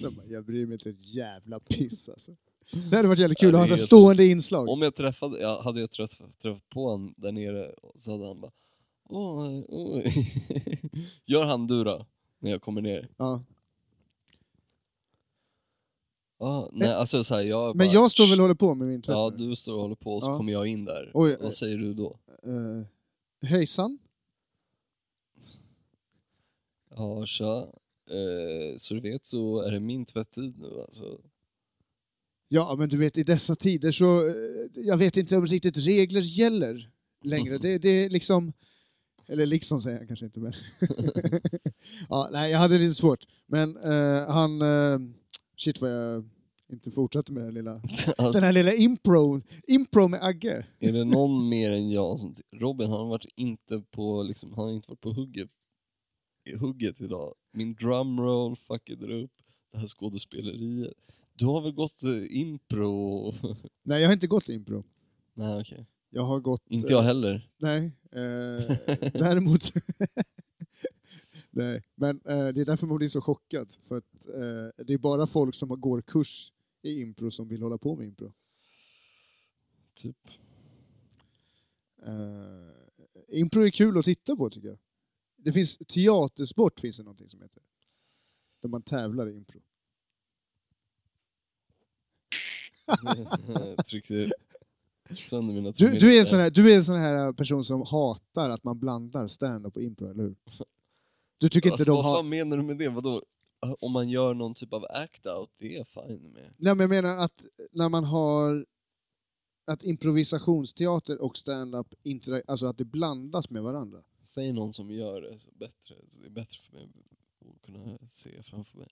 S1: Så bara, jag bryr mig inte ett jävla piss alltså. Det hade varit jävligt kul
S3: Ja,
S1: att ha
S3: det är
S1: så här
S3: helt-
S1: stående inslag.
S3: Om jag träffade, ja, hade jag träffat, träffat på han där nere så hade han bara Oj, oj. Gör han du då? När jag kommer ner.
S1: Ja.
S3: Ah, nej, alltså så här, jag
S1: Eh, Men
S3: bara,
S1: jag står väl och håller på med min tvätt
S3: Ja,
S1: nu?
S3: du står och håller på och så
S1: Ja.
S3: kommer jag in där.
S1: Oj, eh.
S3: Vad säger du då?
S1: Uh, höjsan?
S3: Ja, tja. Eh, så du vet så är det min tvättid nu alltså.
S1: Ja, men du vet i dessa tider så, eh, jag vet inte om riktigt regler gäller längre. Det, det är liksom, eller liksom säger jag kanske inte, men. ja, nej, jag hade lite svårt. Men eh, han, eh, shit vad jag inte fortsatte med den här lilla,
S3: alltså
S1: den här lilla impro, impro med Agge.
S3: är det någon mer än jag som... Robin han har varit inte på, liksom, han har inte varit på hugget, i hugget idag. Min drumroll fuckade upp. Det här skådespeleriet. Du har väl gått eh, impro?
S1: Nej, jag har inte gått impro.
S3: nej okej.
S1: Jag har gått...
S3: Inte
S1: eh,
S3: jag heller.
S1: Nej. Eh, däremot... nej, men eh, det är därför man blir så chockad. För att eh, det är bara folk som har- går kurs i impro som vill hålla på med impro.
S3: Typ.
S1: Eh, impro är kul att titta på tycker jag. Det finns teatersport finns det någonting som heter. Där man tävlar i impro.
S3: jag tryckte sönder mina
S1: Du, du, är en
S3: trumhinnor.
S1: sån här, du är en sån här person som hatar att man blandar stand-up och impro, eller hur? Du tycker inte
S3: Alltså,
S1: de
S3: vad
S1: har...
S3: fan menar du med det? Vadå? Om man gör någon typ av act-out, det är jag fine med.
S1: Nej, men jag menar att när man har att improvisationsteater och stand-up intera- alltså att det blandas med varandra.
S3: Säg någon som gör det så bättre, så det är bättre för mig. eh, se framför mig.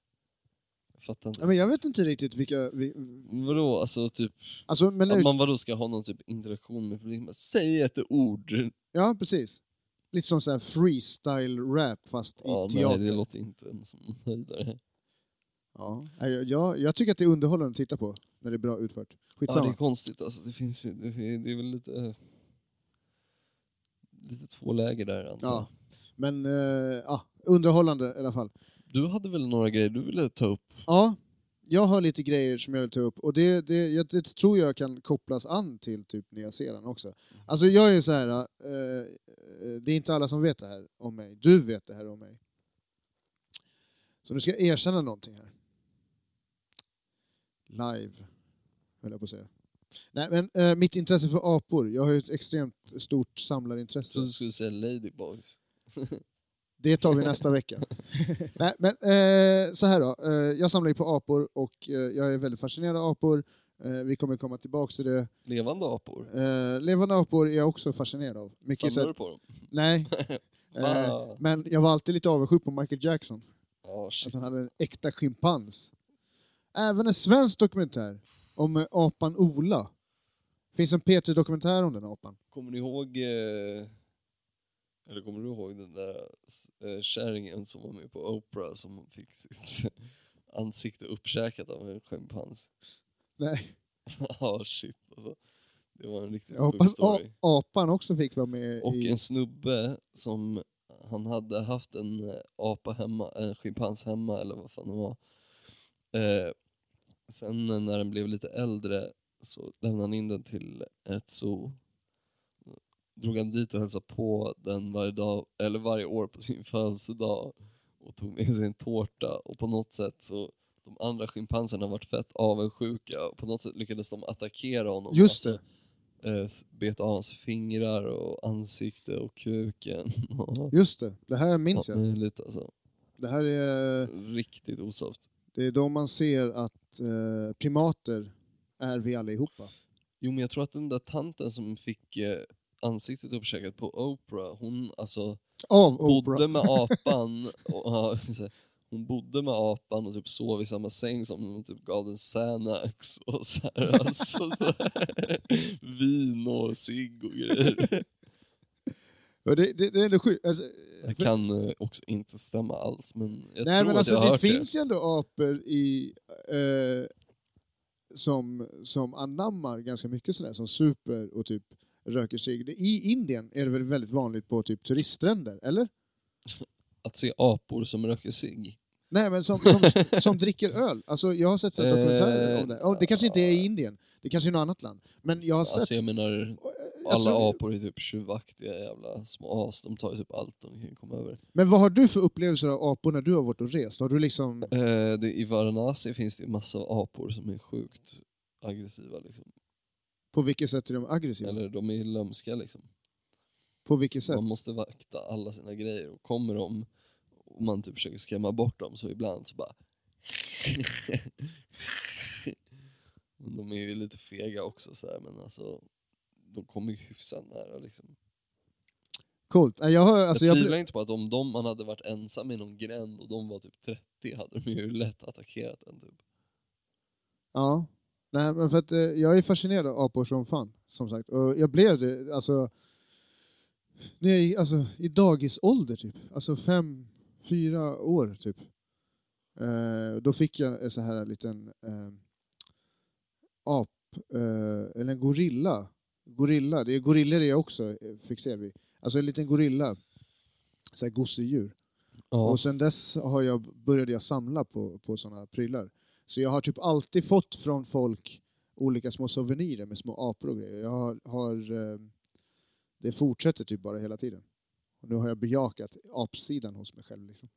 S3: Jag fattar inte.
S1: Ja, Men jag vet inte riktigt vilka... Vi,
S3: Vadå, alltså typ
S1: alltså, men nu,
S3: att man vadå ska ha någon typ interaktion med publiken? Men Säg ett ord!
S1: Ja, precis. Lite som så här freestyle-rap fast
S3: Ja,
S1: i
S3: nej,
S1: teater.
S3: det låter inte som någon höjdare.
S1: Ja, nej, jag- jag, jag tycker att det är underhållande att titta på när det är bra utfört.
S3: Ja, det är
S1: Skitsamma.
S3: konstigt alltså. Det finns ju, det är, det är väl lite... Lite två läger där antar jag.
S1: Ja. Men eh, ja, underhållande i alla fall.
S3: Du hade väl några grejer du ville ta upp?
S1: Ja, jag har lite grejer som jag vill ta upp och det, det, jag, det tror jag kan kopplas an till typ Nya Zeeland också. Alltså jag är så här, eh, det är inte alla som vet det här om mig. Du vet det här om mig. Så nu ska jag erkänna någonting här. Live, höll jag på att säga. Nej, men eh, mitt intresse för apor, jag har ju ett extremt stort
S3: Så
S1: samlarintresse.
S3: du skulle säga Ladyboys.
S1: Det tar vi nästa vecka. Nej, men eh, så här då. Eh, jag samlar ju på apor och eh, jag är väldigt fascinerad av apor. Eh, vi kommer komma tillbaka till det.
S3: Levande apor?
S1: Eh, levande apor är jag också fascinerad av. Mycket så
S3: Samlar
S1: här,
S3: du på dem?
S1: nej, eh,
S3: Va?
S1: men jag var alltid lite avundsjuk på Michael Jackson.
S3: Ja,
S1: Att
S3: shit.
S1: alltså, han hade en äkta schimpans. Även en svensk dokumentär om eh, apan Ola. finns en P3-dokumentär om den apan.
S3: Kommer ni ihåg... eh, Eller kommer du ihåg den där s- eh, kärringen som var med på Oprah som fick sitt ansikte uppkäkat av en schimpans?
S1: Nej,
S3: Ja, shit alltså. Det var en riktigt
S1: jag
S3: sjuk
S1: hoppas a-
S3: story.
S1: apan också fick vara med
S3: Och
S1: eh, i...
S3: en snubbe som han hade haft en eh, apa hemma, en schimpans hemma eller vad fan det var. Eh, sen eh, när den blev lite äldre så lämnade han in den till ett zoo. Drog han dit och hälsade på den varje dag, eller varje år på sin födelsedag och tog med sig en tårta och på något sätt så de andra schimpanserna varit fett avundsjuka och på något sätt lyckades de attackera honom.
S1: Just
S3: Alltså,
S1: det.
S3: eh, s- bet av hans fingrar och ansikte och kuken. och
S1: Just det, det här minns
S3: Allt
S1: jag.
S3: möjligt alltså.
S1: Det här är,
S3: Riktigt osoft.
S1: det är då man ser att eh, primater är vi allihopa.
S3: Jo men jag tror att den där tanten som fick eh, ansiktet uppkäkat på Oprah, hon alltså
S1: Av Oprah.
S3: bodde med apan. Och, ja, så här, hon bodde med apan och typ sov i samma säng som hon typ gav den Xanax och så här, alltså, så här, vin och cigg och grejer.
S1: Ja, Det, det, det är ändå sjukt. Alltså,
S3: Det kan eh, också inte stämma alls men jag
S1: nej
S3: tror
S1: men
S3: att
S1: alltså
S3: jag har
S1: det
S3: hört det.
S1: finns ju ändå apor i, eh, som, som anammar ganska mycket sådär, som super och typ röker cigg. Det- I Indien är det väl väldigt vanligt på typ turiststränder, eller?
S3: att se apor som röker cigg.
S1: Nej men som, som, som dricker öl. Alltså jag har sett så
S3: Eh,
S1: här dokumentärer om det. Ja, det kanske inte är i Indien, det kanske är i något annat land. Men jag har sett...
S3: Alltså jag menar,
S1: jag
S3: alla
S1: tror-
S3: apor är typ tjuvaktiga jävla små as. De tar ju typ allt de kan komma över.
S1: Men vad har du för upplevelser av apor när du har varit och rest? Har du liksom...
S3: Eh, det, I Varanasi finns det ju massa apor som är sjukt aggressiva liksom.
S1: På vilket sätt är de aggressiva?
S3: Eller de är lömska liksom.
S1: På vilket sätt?
S3: Man måste vakta alla sina grejer och kommer de och man typ försöker skrämma bort dem så ibland så bara Men de är ju lite fega också så här, men alltså de kommer ju hyfsat nära liksom.
S1: Coolt. Nej, Jag har, alltså, jag
S3: jag
S1: blir-
S3: tvivlar inte på att om de, man hade varit ensam i någon gränd och de var typ 30 hade de ju lätt attackerat en typ.
S1: Ja. Nej, men för att eh, jag är fascinerad av apor som fan, som sagt. Och jag blev det, alltså... När jag, gick- alltså I dagisålder, typ. Alltså fem, fyra år, typ. Eh, då fick jag en så här liten eh, ap, eh, eller en gorilla. Gorilla, det är gorillor är jag också eh, fixerad vid. Alltså en liten gorilla. Så här gosedjur.
S3: Ja.
S1: Och sen dess har jag, började jag samla på, på sådana prylar. Så jag har typ alltid fått från folk olika små souvenirer med små apor och grejer. Jag har, har, eh, det fortsätter typ bara hela tiden. Och nu har jag bejakat apsidan hos mig själv. Liksom.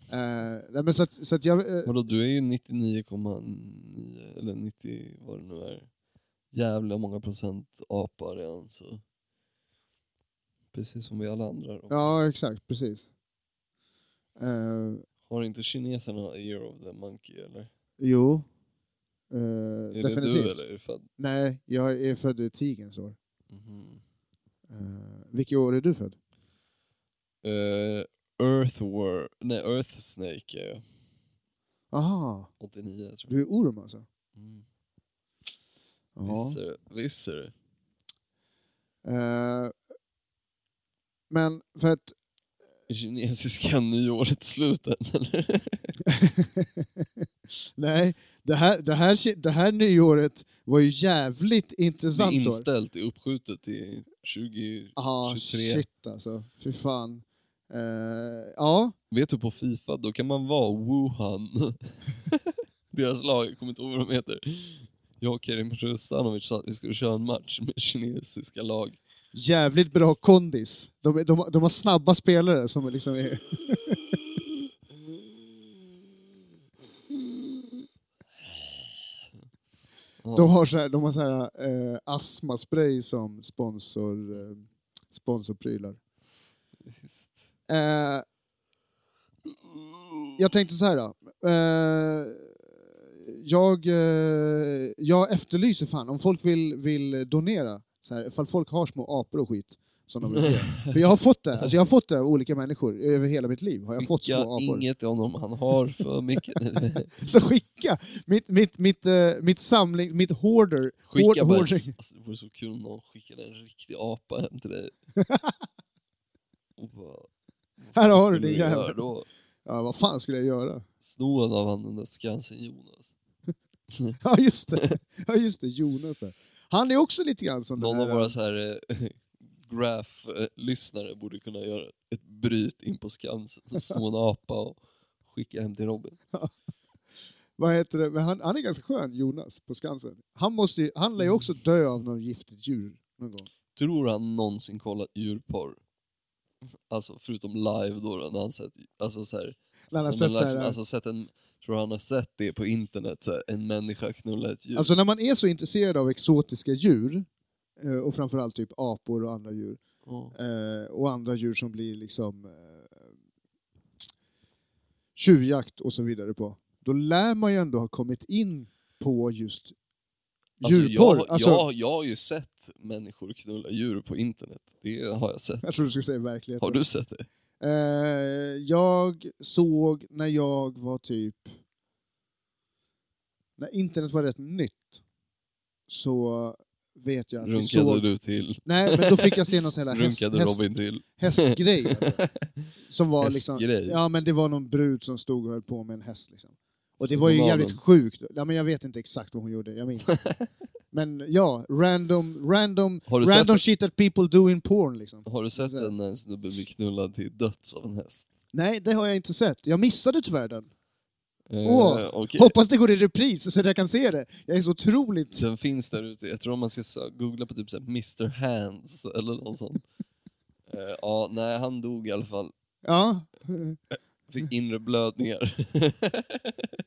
S1: Eh, nej, men så att, så att jag, eh,
S3: Vadå, du är ju 99,9 eller 90 vad det nu är. Jävla många procent apa redan så. Precis som vi alla andra då.
S1: ja, exakt, precis. Eh,
S3: Har inte kineserna ear of the monkey eller?
S1: jo, Eh,
S3: Är
S1: definitivt.
S3: det du eller är du född?
S1: Nej, jag är född i tigerns år.
S3: Mhm.
S1: Eh, vilket år är du född?
S3: Eh, Earth War, nej Earth Snake är jag.
S1: Aha,
S3: 89 tror jag.
S1: du är orm alltså?
S3: Mm.
S1: Ja.
S3: Visst är det- Visst är det.
S1: Eh, men för att
S3: Är kinesiska nyåret slut än eller?
S1: Nej, det här, det, här, ki- det här nyåret var ju jävligt
S3: Det är
S1: intressant år.
S3: inställt, det är uppskjutet till 20...
S1: Ja,
S3: 23.
S1: shit alltså. Fy fan. Eh, ja,
S3: Vet du på Fifa, då kan man vara Wuhan. Deras lag, jag kommer inte ihåg vad de heter. Jag och Kerim Rustanovic sa att vi skulle köra en match med kinesiska lag.
S1: jävligt bra kondis. De, är- de, de har snabba spelare som liksom är...
S3: Ja.
S1: De har så här, de har så här eh, astmaspray som sponsor, eh, sponsorprylar.
S3: Visst.
S1: Eh, jag tänkte så här då. Eh, jag, eh, jag efterlyser fan, om folk vill, vill donera, så här, ifall folk har små apor och skit som de vill ge. För jag har fått det, alltså jag har fått det av olika människor över hela mitt liv. Har jag fått små
S3: Skicka
S1: apor.
S3: inget om dem, han har för mycket.
S1: Så skicka! Mitt, mitt, mitt, eh, mitt samling, mitt hoarder. hoard-
S3: Skicka bara, en-
S1: hoarding.
S3: alltså, det vore så kul om någon skickade en riktig apa hem till dig. Och bara,
S1: Här
S3: vad
S1: har du
S3: skulle
S1: din
S3: göra
S1: jävel.
S3: då?
S1: Ja, vad fan skulle jag göra?
S3: Sno en av han den där Skansen-Jonas.
S1: Ja, just det. Ja, just det. Jonas där. Han är också lite grann som
S3: Någon
S1: den
S3: av
S1: här...
S3: våra så här eh, graph-lyssnare borde kunna göra ett bryt in på Skansen, så snå en apa och skicka hem till Robin.
S1: Vad heter det? Men han, han är ganska skön, Jonas, på Skansen. Han, måste ju, han lär ju också dö av något giftigt djur någon gång.
S3: Tror han någonsin kollat djurporr? Alltså förutom live då, när han sett, alltså så här,
S1: När han har
S3: som en
S1: sett så
S3: liksom-
S1: här, eh,
S3: alltså sett en, tror han har sett det på internet, så här, en människa knulla ett djur.
S1: alltså när man är så intresserad av exotiska djur, eh, och framförallt typ apor och andra djur,
S3: Ja.
S1: eh, och andra djur som blir liksom eh, tjuvjakt och så vidare på, då lär man ju ändå ha kommit in på just
S3: Alltså,
S1: djurporr.
S3: jag,
S1: Alltså,
S3: jag, jag har ju sett människor knulla djur på internet. Det har jag sett.
S1: jag tror du skulle säga verkligheten.
S3: Har du sett det?
S1: Eh, jag såg när jag var typ... När internet var rätt nytt så vet jag att vi
S3: Runkade
S1: såg...
S3: du till?
S1: Nej, men då fick jag se någon sån här häst,
S3: Runkade
S1: häst,
S3: Robin till?
S1: hästgrej. Alltså, som var liksom,
S3: Hästgrej?
S1: ja, men det var någon brud som stod och höll på med en häst. Liksom. Och det
S3: Så
S1: var ju
S3: gav
S1: jävligt
S3: den.
S1: sjukt. Ja, men jag vet inte exakt vad hon gjorde, jag minns inte. Men ja, random, random,
S3: Har du
S1: random
S3: sett
S1: shit that people do in porn. Liksom.
S3: Har du sett den när en eh, snubbe blir knullad till döds av en häst?
S1: Nej, det har jag inte sett. Jag missade tyvärr den.
S3: Eh,
S1: Åh,
S3: okej.
S1: Hoppas det går i repris så att jag kan se det. Jag är så otroligt...
S3: Sen finns där ute, jag tror om man ska sö- googla på typ så här Mr. Hands eller något sånt. Eh, Ja, nej han dog i alla fall.
S1: Ja.
S3: Fick inre blödningar.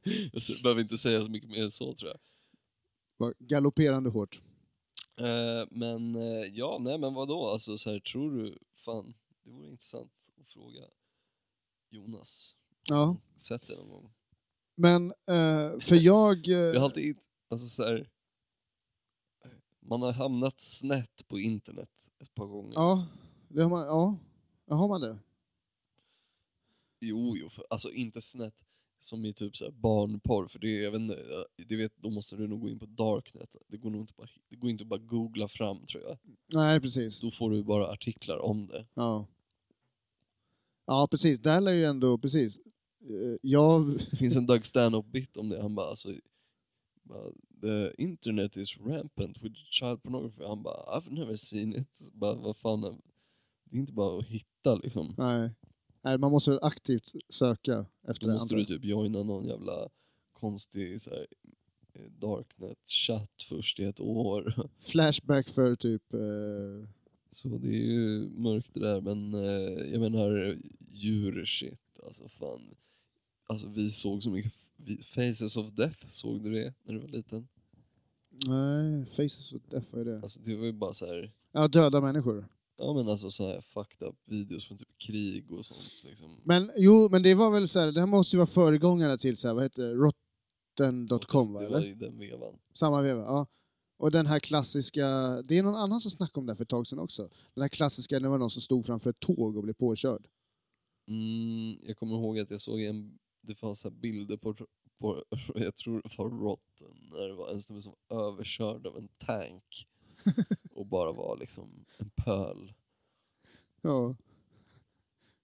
S3: jag s- behöver inte säga så mycket mer än så tror jag.
S1: Vad Galopperande hårt.
S3: Eh, men eh, ja, nej men vadå, alltså så här tror du, fan, det vore intressant att fråga Jonas.
S1: Ja.
S3: Sett det någon gång?
S1: Men, eh, för jag... eh,
S3: Jag har alltid, alltså så här, man har hamnat snett på internet ett par gånger.
S1: Ja, det har man... Ja. ja, har man det?
S3: Jo, jo, för, alltså inte snett som i typ så här barnporr, för det, jag vet inte, jag- det vet, då måste du nog gå in på darknet. Det går nog inte bara, det går inte bara googla fram tror jag.
S1: Nej, precis.
S3: Då får du bara artiklar om det.
S1: Ja. Ja, precis. Där lär ju ändå... Precis. Eh, Jag...
S3: Det finns en Doug Stanhope-bit om det, han bara alltså bara, The internet is rampant with child pornography. Han bara I've never seen it. Bara, vad fan, det är inte bara att hitta liksom.
S1: Nej. Nej, man måste aktivt söka efter
S3: Då måste
S1: det.
S3: du
S1: antar
S3: typ joina någon jävla konstig så här, eh, darknet-chatt först i ett år.
S1: jag. Flashback för typ... Eh,
S3: Så det är ju mörkt det där, men eh, jag menar djurshit, alltså fan. Alltså vi såg så mycket, vi, Faces of Death, såg du det när du var liten?
S1: nej, Faces of Death, vad är det?
S3: Alltså det var ju bara så här,
S1: Ja, döda människor.
S3: ja men alltså så här fucked up videos från typ krig och sånt liksom.
S1: Men jo, men det var väl så här, det här måste ju vara föregångare till så här, vad heter det?
S3: Och
S1: rotten.com va,
S3: Det var
S1: eller?
S3: i den vevan.
S1: Samma veva, ja. Och den här klassiska, det är någon annan som snackade om det här för ett tag sedan också. Den här klassiska, det var någon som stod framför ett tåg och blev påkörd.
S3: Mm, jag kommer ihåg att jag såg en, det fanns så här bilder på, på, jag tror det var Rotten, när det var en snubbe som var överkörd av en tank och bara var liksom en pöl.
S1: Ja.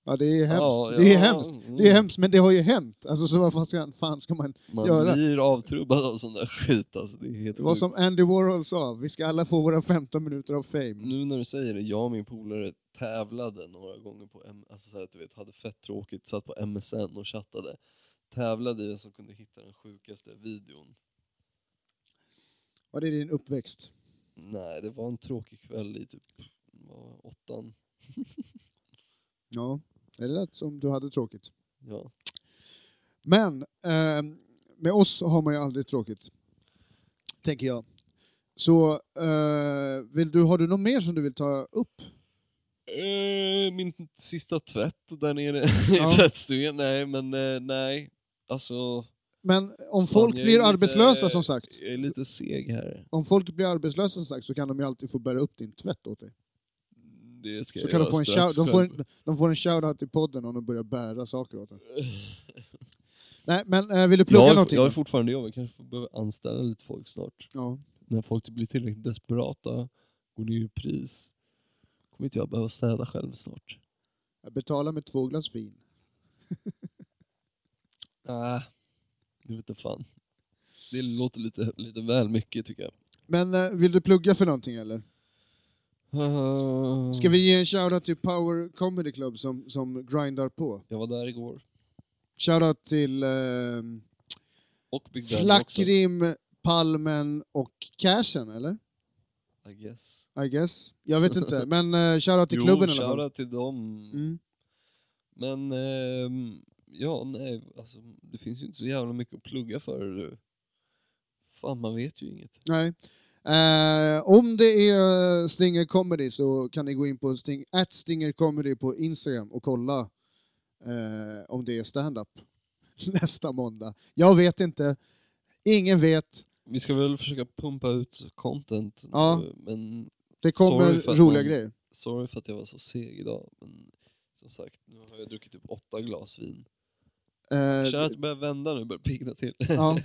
S1: Ja, det är hemskt.
S3: Ja,
S1: Det är
S3: ja,
S1: hemskt.
S3: mm.
S1: Det är hemskt, men det har ju hänt. Alltså, så vad fan ska, fan ska man...
S3: Man
S1: göra.
S3: blir avtrubbad av sån där skit alltså, det är helt
S1: Det var
S3: sjukt.
S1: som Andy Warhol sa, vi ska alla få våra 15 minuter av fame.
S3: Nu när du säger det, jag och min polare tävlade några gånger på, M- alltså så här, att du vet, hade fett tråkigt, satt på MSN och chattade. Tävlade i vem som kunde hitta den sjukaste videon.
S1: Var det är din uppväxt?
S3: Nej, det var en tråkig kväll i typ vad, åttan.
S1: Ja, det lät som du hade tråkigt.
S3: Ja.
S1: Men ehm, med oss har man ju aldrig tråkigt, tänker jag. Så eh, vill du, har du något mer som du vill ta upp?
S3: Eh, Min sista tvätt där nere
S1: Ja.
S3: i tvättstugan. Nej, men eh, nej. Alltså,
S1: Men om folk
S3: fan, jag är
S1: blir
S3: lite-
S1: arbetslösa som sagt,
S3: Jag är lite seg här.
S1: om folk blir arbetslösa som sagt så kan de ju alltid få bära upp din tvätt åt dig.
S3: Det ska
S1: Så
S3: jag
S1: kan de
S3: göra
S1: få en
S3: strax
S1: shout, de får
S3: själv.
S1: en, de får en shout-out i podden om de börjar bära saker åt en. Nej, men eh, vill du plugga
S3: Jag, är,
S1: någonting?
S3: jag är fortfarande jobb, jag kanske får behöva anställa lite folk snart.
S1: ja.
S3: När folk blir tillräckligt desperata, går ner i pris, kommer inte jag behöva städa själv snart.
S1: Jag betalar med två glas vin.
S3: Nej, Äh, det vet inte fan. Det låter lite, lite väl mycket tycker jag.
S1: Men eh, vill du plugga för någonting eller? Ska
S3: Mm.
S1: vi ge en shoutout till Power Comedy Club som, som grindar på?
S3: Jag var där igår.
S1: Shoutout till ehm,
S3: Och Big Daddy också.
S1: Flackrim, Palmen och Cashen, eller?
S3: I guess.
S1: I guess. Jag vet inte, men eh, shoutout till
S3: jo,
S1: klubben i alla fall.
S3: shoutout till dem.
S1: Mm.
S3: Men, ehm, ja, nej, alltså det finns ju inte så jävla mycket att plugga för. du. Fan, man vet ju inget.
S1: Nej. Eh, om det är eh, Stinger Comedy så kan ni gå in på Sting, at Stinger Comedy på Instagram och kolla eh, om det är stand-up nästa måndag. Jag vet inte. Ingen vet.
S3: Vi ska väl försöka pumpa ut content,
S1: Ja.
S3: nu, men
S1: Det
S3: Sorry
S1: kommer
S3: för att
S1: roliga
S3: man-
S1: grejer.
S3: sorry för att jag var så seg idag. Men som sagt, nu har jag druckit typ åtta glas vin.
S1: Eh,
S3: Känner att det börjar vända nu, börjar pigna till.
S1: Ja.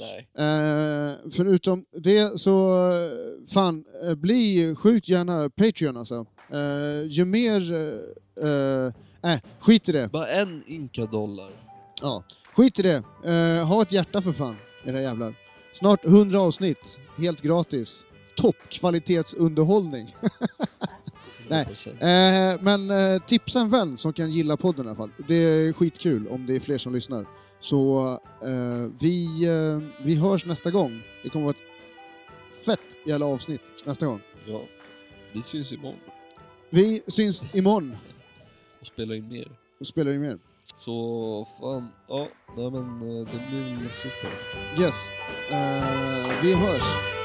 S3: Nej.
S1: Eh, förutom det så, eh, fan, eh, bli sjukt gärna Patreon alltså. Eh, ju mer, eh, eh, äh, skit i det.
S3: Bara en ynka dollar.
S1: Ja, skit i det. Eh, ha ett hjärta för fan, era jävlar. Snart 100 avsnitt, helt gratis. Toppkvalitetsunderhållning. Nej.
S3: 100%.
S1: Eh, men eh, tipsa en vän som kan gilla podden i alla fall. Det är skitkul om det är fler som lyssnar. Så eh, vi, eh, vi hörs nästa gång. Det kommer vara ett fett jävla avsnitt nästa gång.
S3: Ja. Vi syns imorgon
S1: Vi syns imorgon
S3: och spelar in mer.
S1: och spelar in mer.
S3: Så fan, ja, nej men eh, det blir väl super.
S1: Yes. Eh, vi hörs.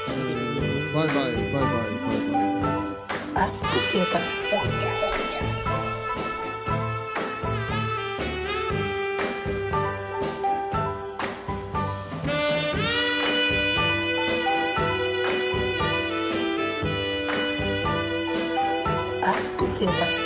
S1: Eh, bye, bye, bye, bye, bye, bye.
S2: Пас и света. Пас и света.